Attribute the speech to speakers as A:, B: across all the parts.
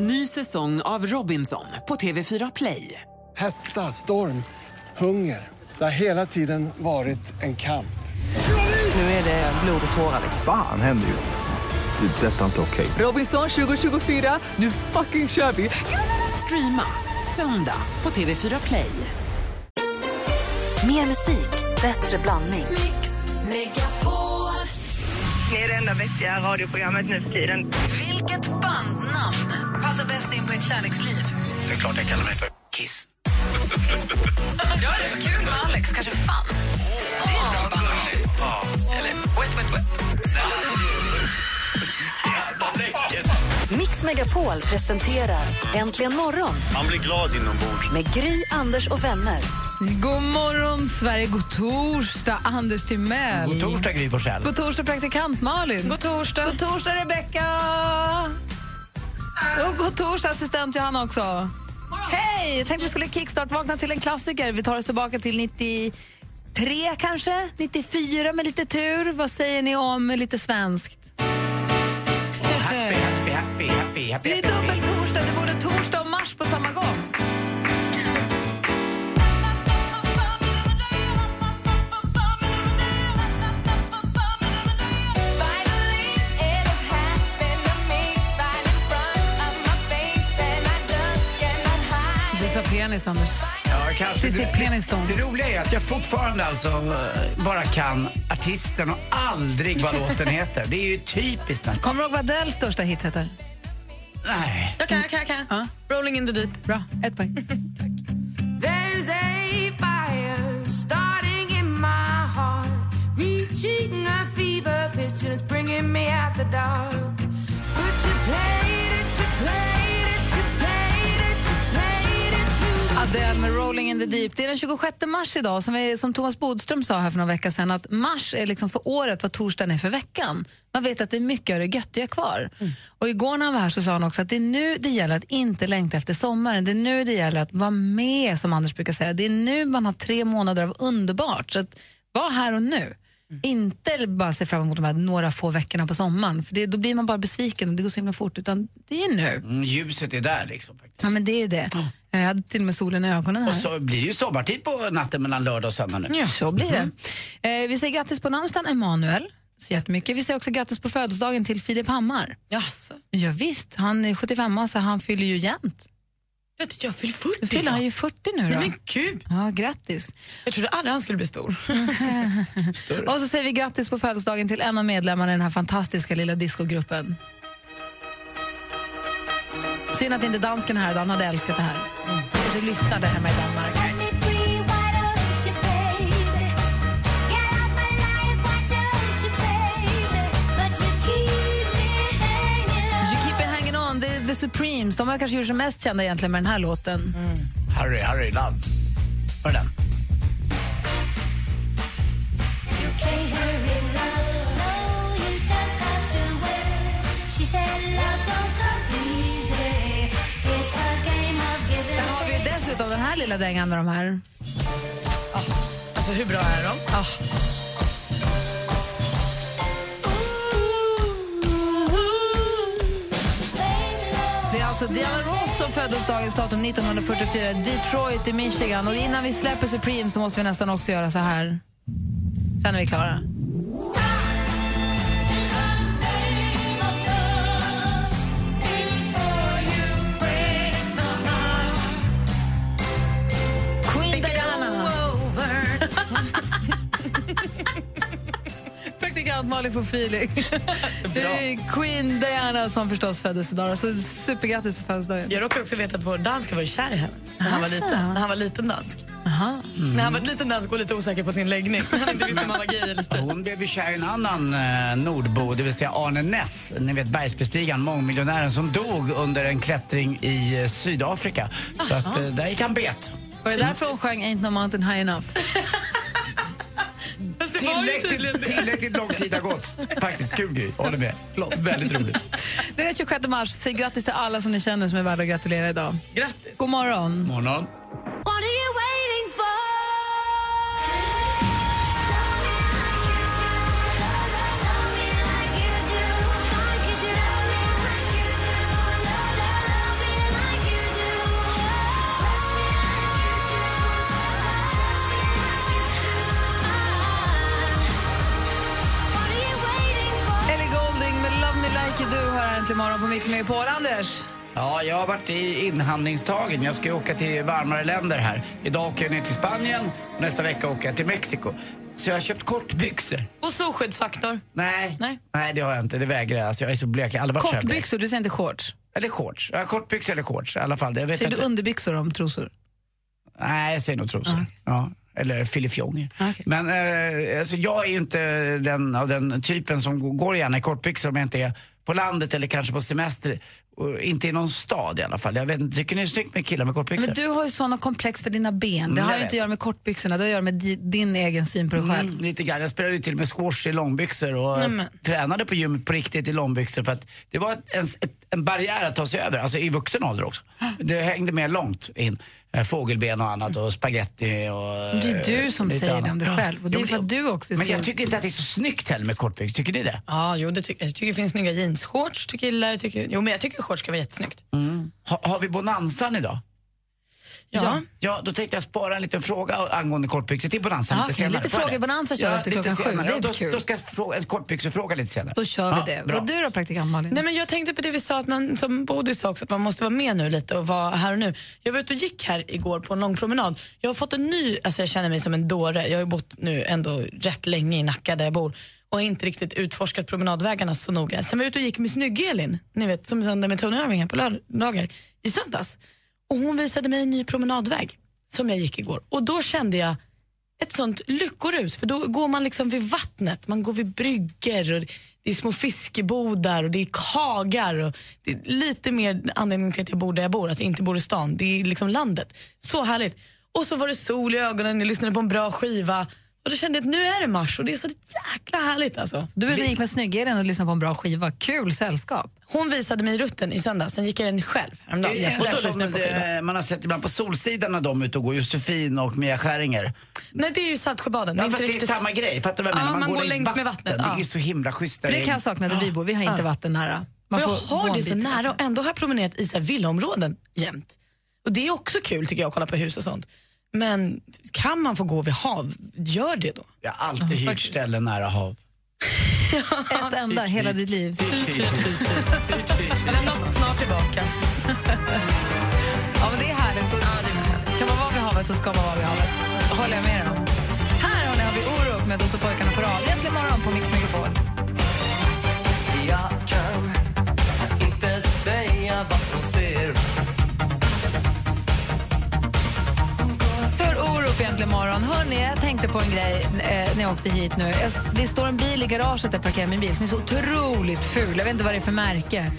A: Ny säsong av Robinson på TV4 Play.
B: Hetta, storm, hunger. Det har hela tiden varit en kamp.
A: Nu är det blod och tårar.
C: Fan händer just nu. Det. är Detta är inte okej.
A: Robinson 2024, nu fucking kör vi! Streama söndag på TV4 Play.
D: Mer musik, bättre blandning.
E: Ni är det enda vettiga radioprogrammet nu för tiden.
F: Vilket bandnamn passar bäst in på ett kärleksliv?
G: Det är klart jag kallar mig för Kiss.
F: Gör det kul med Alex, kanske fan. Det är ett bra bandnamn.
G: Ja,
F: Eller wet, wet, wet.
G: jävla läckert.
D: Mix Megapol presenterar Äntligen morgon
G: Man blir glad inombords.
D: med Gry, Anders och vänner.
H: God morgon, Sverige. God torsdag, Anders Timell. God torsdag, Gry Forssell. God torsdag, praktikant Malin. God torsdag. God torsdag, Rebecka. Och god torsdag, assistent Johanna också. Hej! Jag tänkte vi skulle kickstart-vakna till en klassiker. Vi tar oss tillbaka till 93 kanske, 94 med lite tur. Vad säger ni om lite svenskt?
I: Happy, happy, happy, happy, happy.
H: Det är dubbel torsdag, det vore torsdag och mars på samma gång. Du sa penis, Anders.
I: Ja, kanske.
H: Cissi Peniston.
I: Det roliga är att jag fortfarande alltså eh, bara kan artisten och aldrig vad låten heter. Det är ju typiskt nästan.
H: Kommer du ihåg vad Adels största hit heter?
I: Nej.
J: Jag kan, jag kan, jag kan.
H: Ja.
J: Rolling in the deep.
H: Bra, ett poäng. Adele med Rolling in the deep. Det är den 26 mars idag. Som, vi, som Thomas Bodström sa här för några vecka sedan att mars är liksom för året vad torsdagen är för veckan. Man vet att det är mycket av det göttiga kvar. Och igår när han var här så sa han också att det är nu det gäller att inte längta efter sommaren. Det är nu det gäller att vara med, som Anders brukar säga. Det är nu man har tre månader av underbart. Så att var här och nu. Inte bara se fram emot de här några få veckorna på sommaren, för det, då blir man bara besviken och det går så himla fort, utan det är nu.
I: Mm, Ljuset är där liksom. faktiskt.
H: Ja, men det är det. Jag hade till och med solen i ögonen här.
I: Och så blir det ju sommartid på natten mellan lördag och söndag nu.
H: Så blir det.
J: Mm.
H: Eh, vi säger grattis på namnsdagen Emanuel. Så jättemycket. Vi säger också grattis på födelsedagen till Filip Hammar.
J: Jaså?
H: Ja, visst, han är 75 så han fyller ju jämnt.
J: Jag, jag fyller
H: Nu
J: 40
H: fyller han
J: idag.
H: ju 40 nu
J: Nej
H: då.
J: men gud!
H: Ja, grattis.
J: Jag trodde aldrig han skulle bli stor.
H: Och så säger vi grattis på födelsedagen till en av medlemmarna i den här fantastiska lilla discogruppen. Synd att inte dansken är här idag, han hade älskat det här.
J: Mm.
H: Kanske lyssnade hemma i Danmark. You keep it hanging on, det är The Supremes. De har kanske gjort sig mest kända egentligen med den här låten.
I: Harry, Harry Love. Var det den?
H: Sen har vi ju dessutom den här lilla dängan med de här.
J: Alltså hur bra är de?
H: Ah. Det är alltså Diana Ross som föddes dagens datum 1944 Detroit i Michigan. Och innan vi släpper Supreme så måste vi nästan också göra så här. Sen är vi klara. Queen Diana. Praktikant Malin får feeling. Det är Queen Diana som förstås föddes idag. Så supergrattis på födelsedagen.
J: Jag råkar också veta att vår dansk har varit kär i henne när han var
H: Asså.
J: liten. När han var liten dansk.
H: Aha.
J: När han var liten dansk och lite osäker på sin läggning. Han inte visste om han var gay eller straight.
I: Hon blev ju kär i en annan eh, nordbo, det vill säga Arne Ness, ni vet bergsbestigaren, mångmiljonären som dog under en klättring i eh, Sydafrika. Så att eh, där gick han bet.
H: Var det
J: typ-
H: därför hon sjöng Ain't no mountain high enough?
J: Fast det var ju tydligen
I: Tillräckligt,
J: det.
I: tillräckligt lång tid har gått. Faktiskt kul grej, håller med. Förlåt, Väldigt roligt.
H: Det är den 26 mars. Säg grattis till alla som ni känner som är värda att gratulera idag.
J: Grattis!
H: God morgon.
I: Morgon.
H: äntligen morgon på Mix Megapol. Anders?
I: Ja, jag har varit i inhandlingstagen. Jag ska ju åka till varmare länder här. Idag åker jag ner till Spanien och nästa vecka åker jag till Mexiko. Så jag har köpt kortbyxor.
F: Och solskyddsfaktor.
I: Nej.
F: Nej.
I: det har jag inte. Det vägrar jag. Alltså, jag är så blek. Jag har aldrig varit så här blek.
H: Kortbyxor, du säger inte shorts.
I: Eller shorts. Ja, kortbyxor eller shorts i alla fall. Jag vet
H: Säger du
I: inte.
H: underbyxor om trosor?
I: Nej, jag säger nog trosor. Ja. Eller filifjonger.
H: Ah, Okej.
I: Men eh, alltså, jag är ju inte den, av den typen som g- går gärna i kortbyxor om jag inte är på landet eller kanske på semester. Och inte i någon stad i alla fall. Jag vet, inte, tycker ni det är snyggt med killar med kortbyxor?
H: Men du har ju såna komplex för dina ben. Det
I: Mm, jag
H: har ju
I: vet.
H: inte att göra med kortbyxorna, det har att göra med di- din egen syn på dig själv.
I: Mm, lite grann. Jag spelade ju till och med squash i långbyxor och tränade på gymmet på riktigt i långbyxor för att det var en, ett, en barriär att ta sig över, alltså i vuxen ålder också. Det hängde med långt in. Eh, Fågelben och annat och spaghetti och... eh,
H: Det är du som
I: lite
H: säger det
I: annat.
H: om dig själv, och det
I: Jo,
H: är för att du också är
I: Men
H: så-
I: jag tycker inte att det är så snyggt heller med kortbyxor, tycker ni det?
F: Ja, jo, det tycker jag. tycker det finns snygga jeansshorts till killar. Tycker, jo, men jag tycker shorts ska vara jättesnyggt.
I: Mm. Ha, har vi bonanzan idag?
F: Ja.
I: Ja, då tänkte jag spara en liten fråga angående kortbyxor till bonanzan
H: Ja,
I: lite
H: okej,
I: senare.
H: lite
I: Får jag det?
H: frågebonanza kör vi efter
I: lite
H: klockan sju,
I: senare.
H: det är
I: Ja, då,
H: kul.
I: Då ska jag fråga, en kortbyxefråga lite senare.
H: Då kör vi
I: Ja,
H: det.
I: bra.
H: Och du då praktikant Malin?
F: Nej, men jag tänkte på det vi sa, att man, som Bodil sa också, att man måste vara med nu lite och vara här och nu. Jag var ute och gick här igår på en lång promenad. Jag har fått en ny, alltså jag känner mig som en dåre. Jag har ju bott nu ändå rätt länge i Nacka där jag bor och har inte riktigt utforskat promenadvägarna så noga. Sen var jag ute och gick med snygg-Elin, ni vet, som sände med Tony Irving här på lördagar, i söndags. Och hon visade mig en ny promenadväg som jag gick igår. Och då kände jag, ett sånt lyckorus för då går man liksom vid vattnet, man går vid bryggor och det är små fiskebodar och det är kagar och det är lite mer anledning till att jag bor där jag bor, att jag inte bor i stan, det är liksom landet. Så härligt. Och så var det sol i ögonen, jag lyssnade på en bra skiva och då kände jag att nu är det mars och det är så jäkla härligt alltså.
H: Du var ute och gick med snyggheten och lyssnade på en bra skiva. Kul sällskap.
F: Hon visade mig rutten i söndags, sen gick jag den själv häromdagen.
I: Det är
F: Och
I: det
F: då
I: där
F: lyssnade
I: som
F: jag på skivan.
I: det, man har sett ibland på Solsidan när de är ute och går, Josefin och Mia Skäringer.
F: Nej, det är ju Saltsjöbaden.
I: Ja,
F: är
I: fast
F: inte
I: det är
F: riktigt-
I: samma grej, fattar du vad jag
F: Ja,
I: menar?
F: man går längs med vattnet,
I: Det
F: ja.
I: är ju så himla schysst. där
H: För det kan
I: i-
H: jag sakna där vi bor, vi har inte vatten nära. Man
F: Och jag
H: får gå
F: har
H: en
F: det så
H: bit i
F: nära och
H: vattnet.
F: ändå har jag promenerat i så här villaområden jämt. Och det är också kul tycker jag att kolla på hus och sånt. Men kan man få gå vid hav, gör det då.
I: Jag har alltid hyrt ställen nära hav.
H: Ett enda, hela ditt liv.
F: Lämnas snart tillbaka.
H: Ja, men det är härligt. Och, Kan man vara vid havet så ska man vara vid havet. Det håller jag med om. Här hörni, har vi Orup med Då så pojkarna på rad. Äntligen morgon på Mix Megapol.
A: Jag kan inte säga vad hon ser
H: För Orup egentligen morgon. Hörni, jag tänkte på en grej eh, när jag åkte hit nu. Jag, det står en bil i garaget där jag parkerar min bil som är så otroligt ful. Jag vet inte vad det är för märke.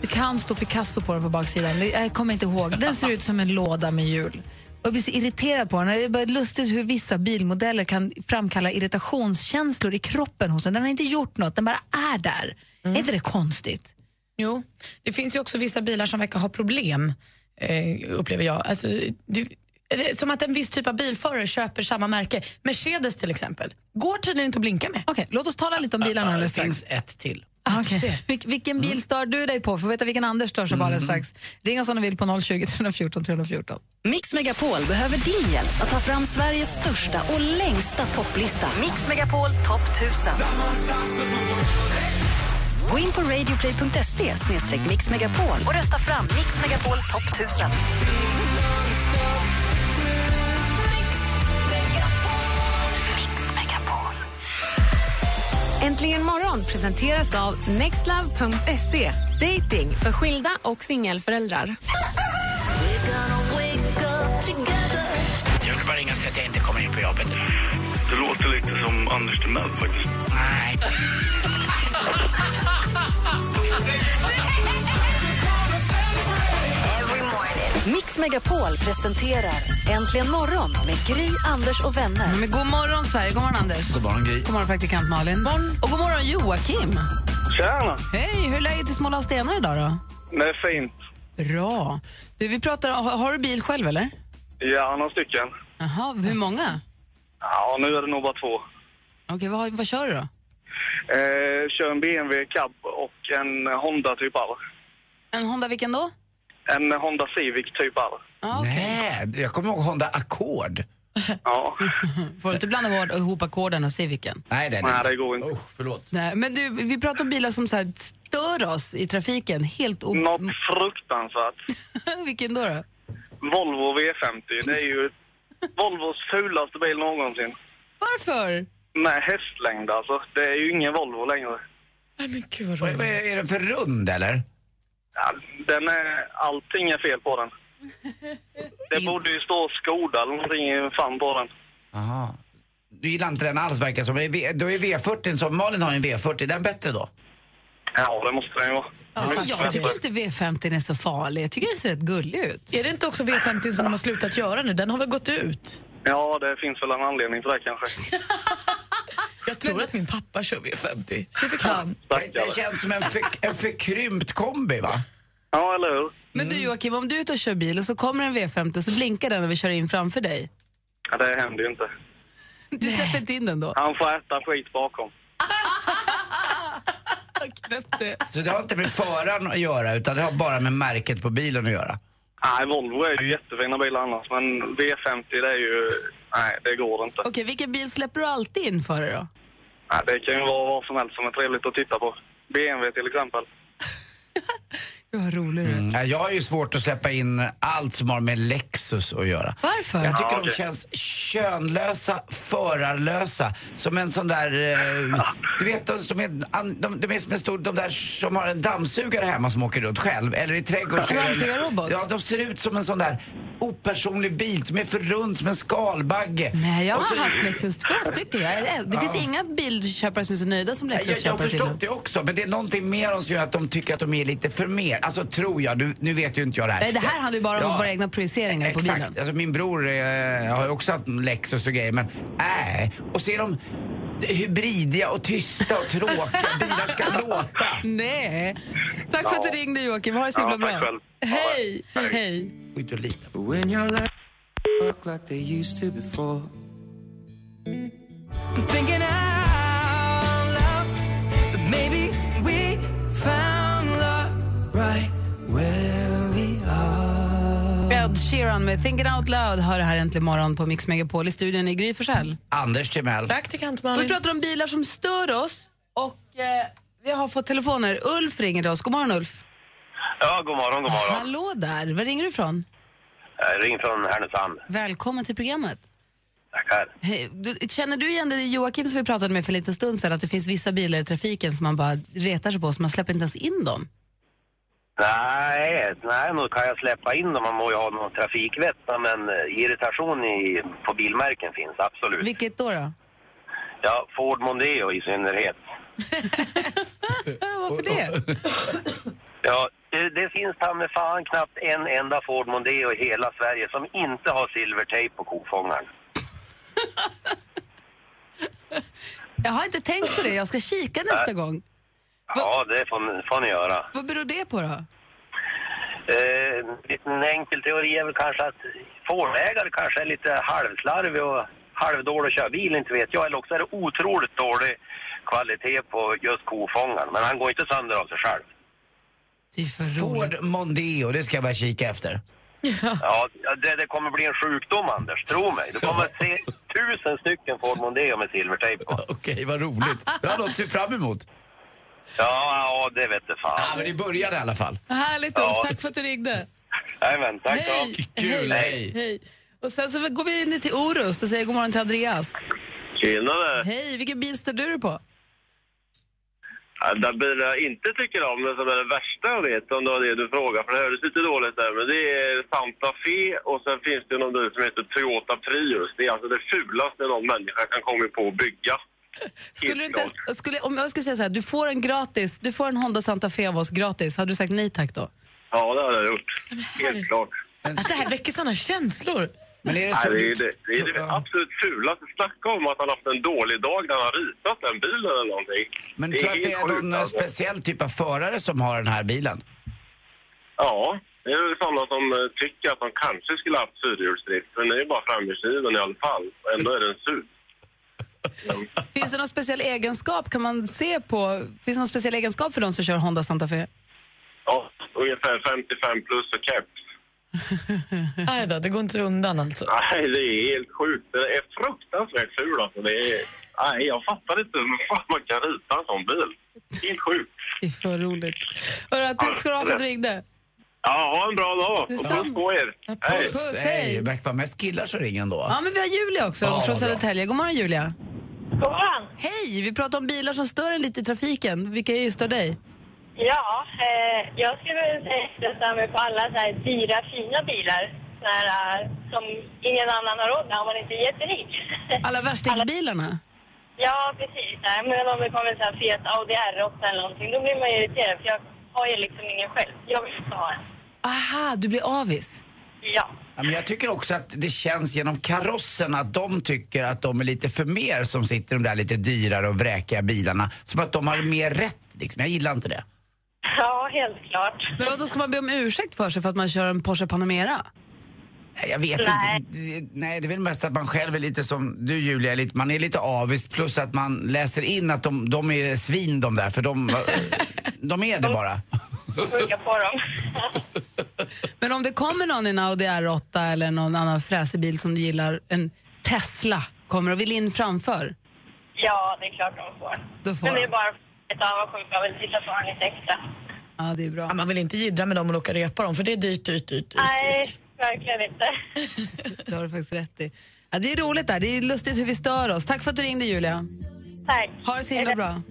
H: Det kan stå Picasso på den på baksidan. Det- Jag kommer inte ihåg. Den ser ut som en låda med hjul. Och Jag blir så irriterad på den. Det är bara lustigt hur vissa bilmodeller kan framkalla irritationskänslor i kroppen hos en. Den har inte gjort något, den bara är där.
F: Mm.
H: Är inte det konstigt?
F: Jo, det finns ju också vissa bilar som verkar ha problem, eh, upplever jag. Alltså, det, är det som att en viss typ av bilförare köper samma märke. Mercedes till exempel, går tydligen inte att blinka med.
H: Okej, låt oss tala lite om bilarna
I: Ja, Det
H: alldeles strax.
I: finns ett till.
H: Ah, Mm. okej. Vil- vilken bil stör du dig på? Får veta vilken Anders stör sig på alldeles strax. Ring oss om du vill på 020 314 314.
D: Mix Megapol behöver din hjälp att ta fram Sveriges största och längsta topplista. Mix Megapol topp 1000. Gå in på radioplay.se snedstreck Mix Megapol och rösta fram Mix Megapol topp 1000. Mix Megapol.
K: Äntligen morgon presenteras av nextlove.se. Dating för skilda och singelföräldrar.
I: Jag vill bara ringa och säga att jag inte kommer in på jobbet idag.
G: Det låter lite som Anders Timell faktiskt.
I: Nej.
D: Mix Megapol presenterar Äntligen morgon med Gry, Anders och vänner.
H: Men god morgon, Sverige. God morgon, Anders. God morgon, Gry. God morgon, praktikant Malin. Och god morgon, Joakim.
G: Tjena!
H: Hej, hur är läget i Småland Stenar idag då?
G: Det är fint.
H: Bra. Du, vi pratar, har, har du bil själv eller?
G: Ja, några stycken.
H: Jaha, hur många?
G: Ja, nu är det nog bara två.
H: Okej, vad, har- vad kör du då?
G: Eh, kör en BMW cab och en Honda typ R.
H: En Honda vilken då?
G: En Honda Civic typ R.
H: Ah, okej.
I: Nej, jag kommer ihåg Honda Accord.
G: Ja.
H: Får du inte blanda bort- ihop ackorden och se vilken.
I: Nej, det,
G: Nej, det går inte.
I: Oh, förlåt.
H: Nej, men du, vi pratar om bilar som så här stör oss i trafiken. Helt o...
G: Något fruktansvärt.
H: vilken då? då?
G: Volvo V50, det är ju Volvos fulaste bil någonsin.
H: Varför?
G: Med hästlängd alltså. Det är ju ingen Volvo längre.
F: Nej, men gud vad
I: Vad är, vad är är den för rund eller?
G: Ja, den är, allting är fel på den. Det borde ju stå Skoda eller någonting fan på den.
I: Aha. Du gillar inte den alls verkar som. Är V- Då är V40 som, Malin har ju en V40, är den bättre då?
G: Ja, det måste den ju vara.
H: Alltså, jag tycker inte V50 är så farlig. Jag tycker den ser rätt gullig ut.
F: Är det inte också V50 som de har slutat göra nu? Den har väl gått ut?
G: Ja, det finns väl en anledning till det kanske.
F: Jag tror att min pappa kör V50. Så fick han.
I: Det, det känns som en, för, en förkrympt kombi va?
G: Ja, eller hur?
H: Men du Joakim, om du är ute och kör bil och så kommer en V50 och så blinkar den när vi kör in framför dig.
G: Ja, det händer ju inte.
H: Du släpper inte in den då?
G: Han får äta skit bakom.
H: Knäppt det.
I: Så det har inte med föraren att göra utan det har bara med märket på bilen att göra.
G: Nej, Volvo är ju jättefina bilar annars, men V50 det är ju... Nej, det går inte.
H: Okej, vilken bil släpper du alltid in för dig då?
G: Nej, det kan ju vara vad som helst som är trevligt att titta på. BMW till exempel.
H: Gud, vad rolig du är.
I: Ja, Jag har ju svårt att släppa in allt som har med Lexus att göra.
H: Varför?
I: Jag tycker
G: Ja,
I: de
G: okej.
I: känns könlösa, förarlösa. Som en sån där... Eh, du vet, de, som är, an- de, de är som en stor, de där som har en dammsugare hemma som åker runt själv. Eller i trädgården.
H: En dammsugarrobot?
I: Ja, de ser ut som en sån där opersonlig bil. De är för rund som en skalbagge.
H: Nej, jag
I: Och
H: har
I: så-
H: haft Lexus två stycken. Jag är- Det finns inga bilköpare som är så nöjda som
I: Jag, jag har
H: Lexus-köpare.
I: förstått det också, men det är någonting med dem som gör att de tycker att de är lite för mer. Alltså tror jag, du, nu vet ju inte jag det här.
H: Nej, det här handlar ju bara om
I: Ja.
H: våra egna projiceringar på
I: Exakt.
H: bilen.
I: Alltså, min bror eh, har ju också haft Lexus och grejer, men nej. och så är de hybridiga och tysta och tråkiga. Bilar ska låta.
H: Nej. Tack för att du
G: Ja.
H: ringde Joakim, ha det så
G: Ja,
H: himla
G: tack
H: bra.
G: själv. Ja,
H: Hej, hej.
I: Går inte att lita på.
H: Ed Sheeran med Think It Out Loud hör det här äntligen morgon på Mix Megapol. I studion i Gry Forssell.
I: Anders Timell.
F: Praktikant
H: Och Vi
F: Malin.
H: pratar om bilar som stör oss och eh, vi har fått telefoner. Ulf ringer till oss. God morgon Ulf.
G: Ja, god morgon, god morgon.
H: Hallå där. Var ringer du ifrån?
G: Jag ring från Härnösand.
H: Välkommen till programmet.
G: Tackar.
H: Hej. Du, känner du igen det i Joakim som vi pratade med för en liten stund sedan? Att det finns vissa bilar i trafiken som man bara retar sig på så man släpper inte ens in dem.
L: Nej, nej, nog kan jag släppa in dem. Man må ju ha någon trafikvett. Men eh, irritation i, på bilmärken finns absolut.
H: Vilket då? då?
L: Ja, Ford Mondeo i synnerhet.
H: Ja, varför det?
L: Ja, det, det finns ta med fan knappt en enda Ford Mondeo i hela Sverige som inte har silvertejp på kofångaren.
H: Jag har inte tänkt på det. Jag ska kika nästa gång.
L: Ja, det får, ni- får ni göra.
H: Vad beror det på då?
L: Eh, en enkel teori är väl kanske att Fordägare kanske är lite halvslarvig och halvdålig att köra bil, inte vet jag. Eller också är det otroligt dålig kvalitet på just kofångaren. Men han går inte sönder av sig själv.
H: Det är för roligt.
I: Ford Mondeo, det ska jag börja kika efter.
L: Ja, det, det kommer bli en sjukdom, Anders. Tro mig. Du kommer att se tusen stycken Ford Mondeo med silvertejp på.
I: Okej, vad roligt. Det har något att se fram emot.
L: Ja, ja, det vet du
I: Ja,
L: fan.
I: men det började i alla fall.
H: Härligt Ulf.
L: Ja.
H: Tack för att du ringde.
L: Jajamän, tack då.
H: Hej.
I: Kul, hej.
H: Hej. Och sen så går vi in till Orust och säger god morgon till Andreas.
G: Tjenare!
H: Hej, vilken bil stör du dig på?
G: Ja, Den bilen jag inte tycker om, men som är den värsta jag vet, om det var det du frågade, för det hördes lite dåligt där, men det är Santa Fe och sen finns det någon bil som heter Toyota Prius. Det är alltså det fulaste någon människa kan komma på att bygga.
H: Skulle du inte ens, skulle, om jag skulle säga så här, du får en gratis, du får en Honda Santa Fe av oss gratis, hade du sagt nej tack då?
G: Ja, det har jag gjort. Helt klart.
F: Att det här väcker såna känslor.
I: Men är det så?
G: Alltså, Nej, det, är
I: du-
G: det, det är det
I: Ja.
G: absolut fulaste. Snacka om att han haft en dålig dag när han har ritat den bilen eller någonting.
I: Men tror du att det
G: helt
I: är någon
G: sjukt, alltså.
I: speciell typ av förare som har den här bilen?
G: Ja, det är väl sådana som eh, tycker att de kanske skulle haft fyrhjulsdrift, men det är ju bara framhjulsdriven i alla fall. Och ändå är den sur.
H: Finns det någon speciell egenskap, kan man se på, finns det någon speciell egenskap för de som kör Honda Santa Fe?
G: Ja, ungefär 55 plus och keps.
F: Nej då, det går inte undan alltså.
G: Nej, det är helt sjukt. Det är fruktansvärt ful alltså. Det är... Nej, jag fattar inte hur fan man kan rita en sån bil. Helt sjukt.
H: Det är för roligt. Hörru, tack ska du ha för att du ringde.
G: Ja, ha en bra dag. Och
H: Detsamma.
G: Puss på er.
H: Hej. Puss, hej.
I: Det verkar vara mest killar som ringer ändå.
H: Ja, men vi har Julia också
I: Ja,
H: från
I: vad bra.
H: Södertälje. God morgon Julia. God morgon. Hej, vi pratar om bilar som stör en lite i trafiken. Vilka är stör dig?
M: Ja, eh, jag skulle vilja säga att jag stör mig på alla så här dyra, fina bilar. Såna här, eh, som ingen annan har råd med om man inte är jätterik.
H: Alla värstingsbilarna?
M: Ja, precis. Nej, men om det kommer en sån här fet Audi R8 eller någonting, då blir man ju irriterad för jag har ju liksom ingen själv. Jag vill inte ha en.
H: Aha, du blir avis.
M: Ja.
I: Ja, men jag tycker också att det känns genom karossen att de tycker att de är lite för mer som sitter i de där lite dyrare och vräkiga bilarna. Som att de har mer rätt liksom. Jag gillar inte det.
M: Ja, helt klart.
H: Men då ska man be om ursäkt för sig för att man kör en Porsche Panamera?
I: Nej, Jag vet inte. Det- Nej, det är väl mest att man själv är lite som du Julia, är lite, man är lite avis plus att man läser in att de, de är svin de där för de, de är det bara.
M: Sjuka på dem.
H: Men om det kommer någon i en Audi R8 eller någon annan fräsig bil som du gillar, en Tesla, kommer och vill in framför,
M: Ja, det är klart de får.
H: då får
M: Men det
H: de.
M: är bara ett avundsjuk. Jag vill titta på dem lite extra.
H: Ja, det är bra.
F: man vill inte jiddra med dem och åka repa dem, för det är dyrt, dyrt, dyrt. dyrt.
M: Nej, verkligen inte.
H: Det har du faktiskt rätt i. Ja, det är roligt där. Det är lustigt hur vi stör oss. Tack för att du ringde, Julia.
M: Tack.
H: Ha det så himla bra.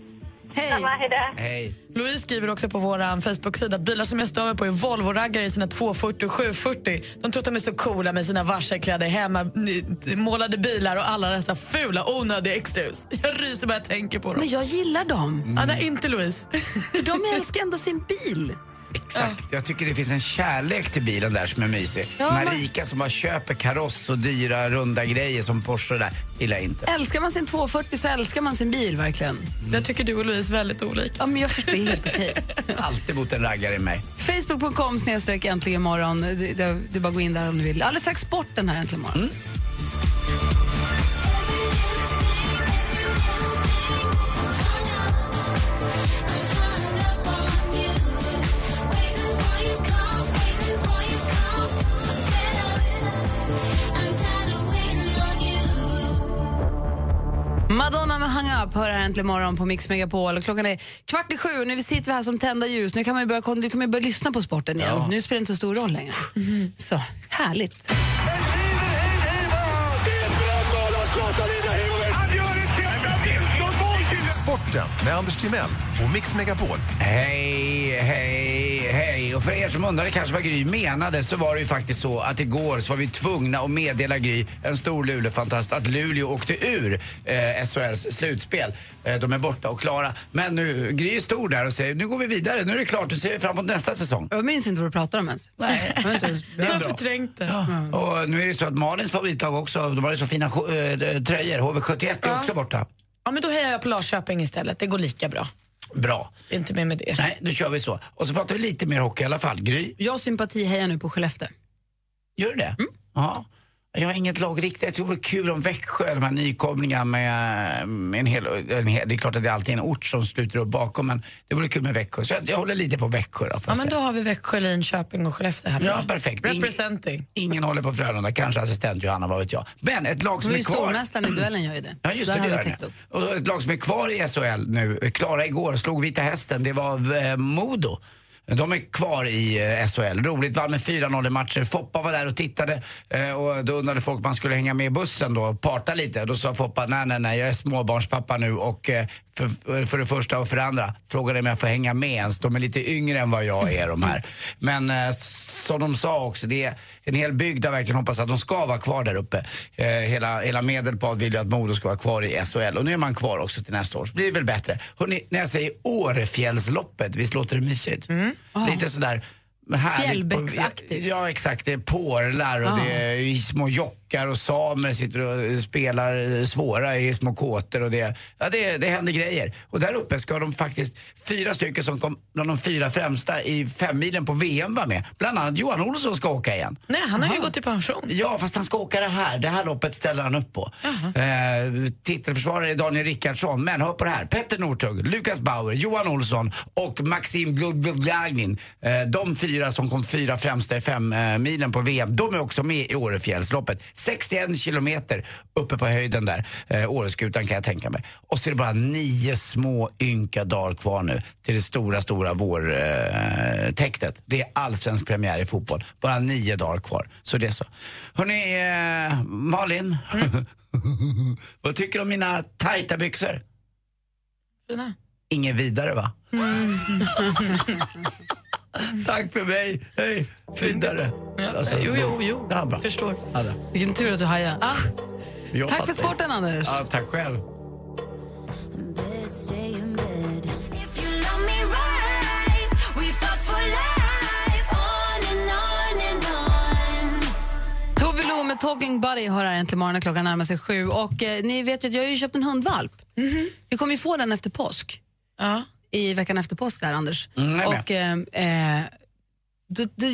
H: Hej.
I: Hej.
F: Louise skriver också på vår eh, Facebook-sida att bilar som jag stör mig på är Volvo-raggare i sina 240 och 740. De tror att de är så coola med sina varselkläder, hemma n- målade bilar och alla dessa fula, onödiga extrahus. Jag ryser bara jag tänker på dem.
H: Men jag gillar dem.
F: Ja, nej, inte Louise.
H: För de älskar ändå sin bil.
I: Exakt. Jag tycker det finns en kärlek till bilen där som är mysig.
H: Ja,
I: de här
H: man-
I: rika som bara köper kaross och dyra runda grejer som Porsche och det där, gillar jag inte.
H: Älskar man sin 240 så älskar man sin bil verkligen.
F: Där tycker du och Louise väldigt olika.
H: Ja, men jag förstår det är helt okej.
I: Alltid mot en raggare i mig.
H: Facebook.com snedstreck äntligen imorgon. Du, du, du bara gå in där om du vill. Alldeles strax sporten här äntligen imorgon. Madonna med Hang Up hör här äntligen imorgon på Mix Megapol. Och Klockan är kvart i sju nu sitter vi här som tända ljus. Nu kan man ju börja, kon- du kan man ju börja lyssna på sporten igen. Nu spelar det inte så stor roll längre. Så, härligt.
N: Sporten med Anders Timell och Mix Megapol.
I: Hej, hej, hej. Och för er som undrade kanske vad Gry menade så var det ju faktiskt så att igår så var vi tvungna att meddela Gry, en stor Luleåfantast, att Luleå åkte ur eh, SHLs slutspel. Eh, de är borta och klara. Men nu, Gry står där och säger nu går vi vidare, nu är det klart, nu ser vi fram emot nästa säsong.
H: Jag minns inte vad du pratar om ens. Nej. Jag har inte ens-
I: Det är bra.
F: Förträngt det.
I: Och nu är det så att Malins favoritlag också, de har ju så fina sjo- eh, tröjor, HV71 är också borta.
F: Ja, men då hejar jag på Larköping istället. Det går lika bra.
I: Bra.
F: Inte mer med det.
I: Nej, då kör vi så. Och så pratar vi lite mer hockey i alla fall. Gry,
H: Jag sympatihejar nu på Skellefteå.
I: Gör du det?
H: Mm.
I: Ja. Jag har inget lag riktigt. Jag tror det vore kul om Växjö, de här nykomlingarna med, med en hel, en hel... Det är klart att det är alltid en ort som sluter upp bakom, men det vore kul med Växjö. Så jag, jag håller lite på Växjö då, får
F: Ja,
I: jag
F: men
I: säga.
F: då har vi Växjö, Linköping och Skellefteå här.
I: Ja, perfekt. Ingen-
F: Representing.
I: Ingen håller på Frölunda, kanske assistent Johanna, vad vet jag. Men ett lag
H: De
I: som
H: är
I: är
H: ju
I: kvar...
H: stormästaren i duellen gör ju det.
I: Ja,
H: Så
I: just
H: där
I: det, det
H: har vi
I: gör
H: täckt
I: det.
H: upp.
I: Och ett lag som är kvar i SHL nu, klara igår, slog Vita Hästen, det var eh, Modo. De är kvar i eh, SHL. Roligt, vann med 4-0 i matcher. Foppa var där och tittade eh, och då undrade folk om man skulle hänga med i bussen då och parta lite. Då sa Foppa, nej nej nej, jag är småbarnspappa nu och eh, för, för det första och för det andra frågade om jag får hänga med ens. De är lite yngre än vad jag är de här. Men eh, som de sa också, det är en hel bygd där verkligen hoppas att de ska vara kvar där uppe. Eh, hela, hela Medelpad vill ju att Modo ska vara kvar i SHL och nu är man kvar också till nästa år. Så blir det väl bättre. Hörrni, när jag säger Årefjällsloppet, visst låter det mysigt? Lite sådär härligt.
H: Fjällbäcksaktigt.
I: Ja, exakt. Det är porlar och
H: Ja.
I: det är små jock turkar och samer sitter och spelar eh, svåra i små kåtor och det, ja, det, det händer grejer. Och där uppe ska de faktiskt, fyra stycken som kom bland de fyra främsta i femmilen på VM var med. Bland annat Johan Olsson ska åka igen.
F: Nej, han har ju gått i pension.
I: Ja, fast han ska åka det här. Det här loppet ställer han upp på. Eh, titelförsvarare är Daniel Rickardsson. Men hör på det här. Petter Northug, Lukas Bauer, Johan Olsson och Maxim Glugglagnin. Eh, de fyra som kom fyra främsta i fem eh, milen på VM, de är också med i Årefjällsloppet. 61 kilometer uppe på höjden där. Eh, Åreskutan kan jag tänka mig. Och så är det bara nio små ynka dagar kvar nu till det stora, stora vårtäktet. Eh, täktet. det är allsvensk premiär i fotboll. Bara nio dagar kvar. Så det är så. Hörrni, eh, Malin. Vad tycker du om mina tajta byxor?
F: Fina. Mm.
I: Inget vidare va? Tack för mig. Hej. Vidare. Alltså,
F: jo, jo, jo.
I: Ja, bra.
F: Förstår.
I: Ja, då.
H: Vilken tur att du hajar. Ah,
I: Jag
H: Tack
I: fattar.
H: för sporten, Anders.
I: Ja, tack själv.
H: Tove Lo med Talking Buddy har här äntligen morgonen. Klockan närmar sig sju. Och eh, ni vet ju att jag har ju köpt en hundvalp.
I: Mhm.
H: Vi kommer ju få den efter påsk. I veckan efter påsk där, Anders.
I: Mm, jag är
H: och eh, eh, då, då,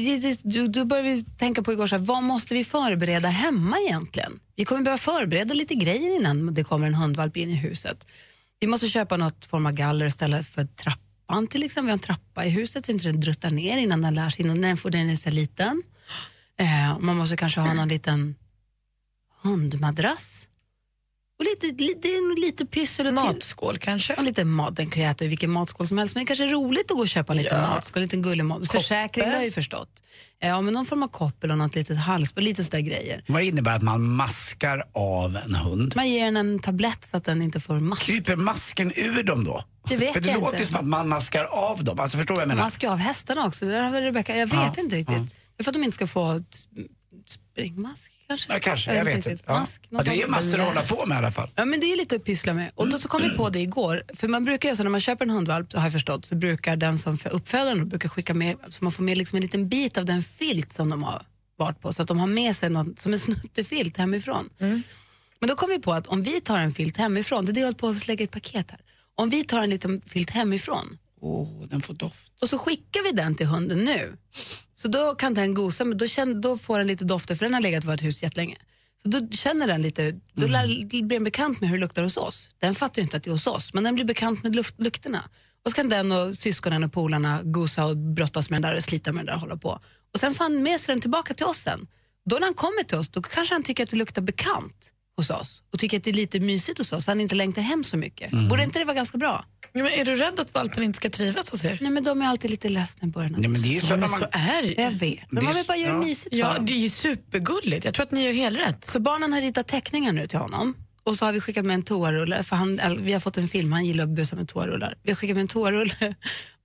H: då, då började vi tänka på igår, så här, vad måste vi förbereda hemma egentligen? Vi kommer behöva förbereda lite grejer innan det kommer en hundvalp in i huset. Vi måste köpa något form av galler och ställa för trappan till exempel. Vi har en trappa i huset så inte den druttar ner innan den lär sig, innan den, får, den är så här liten. Eh, och man måste kanske ha någon liten hundmadrass. Och lite, lite, lite pyssel och Matskål kanske? Och lite mat. Den kan ju äta ur vilken matskål som helst. Men det kanske är roligt att gå och köpa en liten
F: Ja.
H: matskål, en liten gullig mat. Försäkring det har jag ju förstått. Eh, ja, men någon form av koppel och något litet halsband, lite sådär grejer.
I: Vad innebär att man maskar av en hund?
H: Man ger den en tablett så att den inte får mask.
I: Kryper masken ur dem då?
H: Det vet
I: För det
H: jag
I: låter
H: inte.
I: ju som att man maskar av dem. Alltså förstår du vad jag menar?
H: Man ska ju av hästarna också. Det där har väl Rebecca. Jag vet
I: Ja, Mm.
H: inte riktigt.
I: ja.
H: Det är för att de inte ska få ett springmask kanske?
I: Ja, kanske, jag vet inte.
H: riktigt.
I: Ja.
H: Mask,
I: Ja,
H: något
I: det är
H: annat.
I: massor att hålla på med i alla fall.
H: Ja, men det är lite att pyssla med. Och då så kom vi på det igår. För man brukar ju så när man köper en hundvalp, har jag förstått, så brukar den som för uppfödaren då brukar skicka med, så man får med liksom en liten bit av den filt som de har varit på, så att de har med sig något som en snuttefilt hemifrån. Men då kom vi på att om vi tar en filt hemifrån, det är det jag höll på att lägga i ett paket här. Om vi tar en liten filt hemifrån
I: Åh, den får doft.
H: och så skickar vi den till hunden nu, så då kan den gosa, men då, känner, då får den lite dofter för den har legat i vårt hus jättelänge. Så då känner den lite, då lär, blir den bekant med hur det luktar hos oss. Den fattar ju inte att det är hos oss, men den blir bekant med luft, lukterna. Och så kan den och syskonen och polarna gosa och brottas med den där och slita med den där och hålla på. Och sen får han med sig den tillbaka till oss sen. Då när han kommer till oss, då kanske han tycker att det luktar bekant hos oss och tycker att det är lite mysigt hos oss, så han inte längtar hem så mycket.
I: Mm.
H: Borde inte det vara ganska bra? men är du rädd att valpen inte ska trivas hos er? Nej, men de är alltid lite ledsna i början.
I: Nej, men det är ju så när man-
H: Alltså, är Jag vet, men
I: Det
H: man
I: är
H: vill bara göra
I: s-
H: det
I: ja.
H: mysigt
I: Ja,
H: det är ju supergulligt. Jag tror att ni gör helt rätt. Så barnen har ritat teckningar nu till honom. Och så har vi skickat med en toarulle, för han, äl- vi har fått en film, han gillar att busa med toarullar. Vi har skickat med en toarulle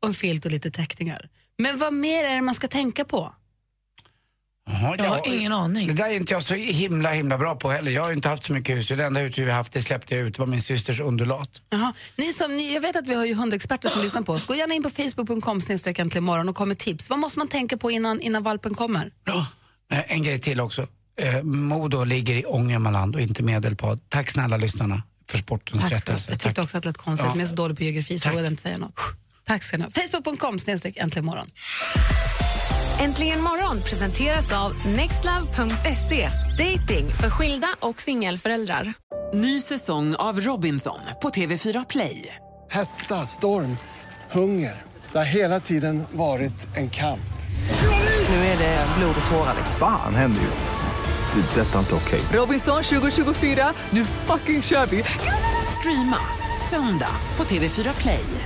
H: och en filt och lite teckningar. Men vad mer är det man ska tänka på?
I: Jaha,
F: Jag har ingen aning.
I: Det där är inte jag så himla himla bra på heller. Jag har ju inte haft så mycket hus. Det enda husdjur vi haft det släppte jag ut. Det var min systers undulat.
H: Jaha. Ni som, ni, jag vet att vi har ju hundexperter som lyssnar på oss. Gå gärna in på facebook.com snedstreck äntligen morgon och kom med tips. Vad måste man tänka på innan, innan valpen kommer?
I: Eh, En grej till också. Eh, Modo ligger i Ångermanland och inte Medelpad. Tack snälla lyssnarna för sportens
H: Tack ska du ha.
I: rättelse.
H: Jag tyckte också att det lät konstigt,
I: Ja.
H: men jag är så dålig på geografi så jag vågade inte säga något. Tack ska ni ha. Facebook.com snedstreck äntligen morgon.
K: Äntligen morgon presenteras av nextlove.se. Dating för skilda och singelföräldrar.
A: Ny säsong av Robinson på TV4 Play.
B: Hetta, storm, hunger. Det har hela tiden varit en kamp.
A: Nu är det blod och tårar. liksom.
C: Fan händer just det. Det är detta inte okej.
A: Robinson 2024, nu fucking kör vi! Streama söndag på TV4 Play.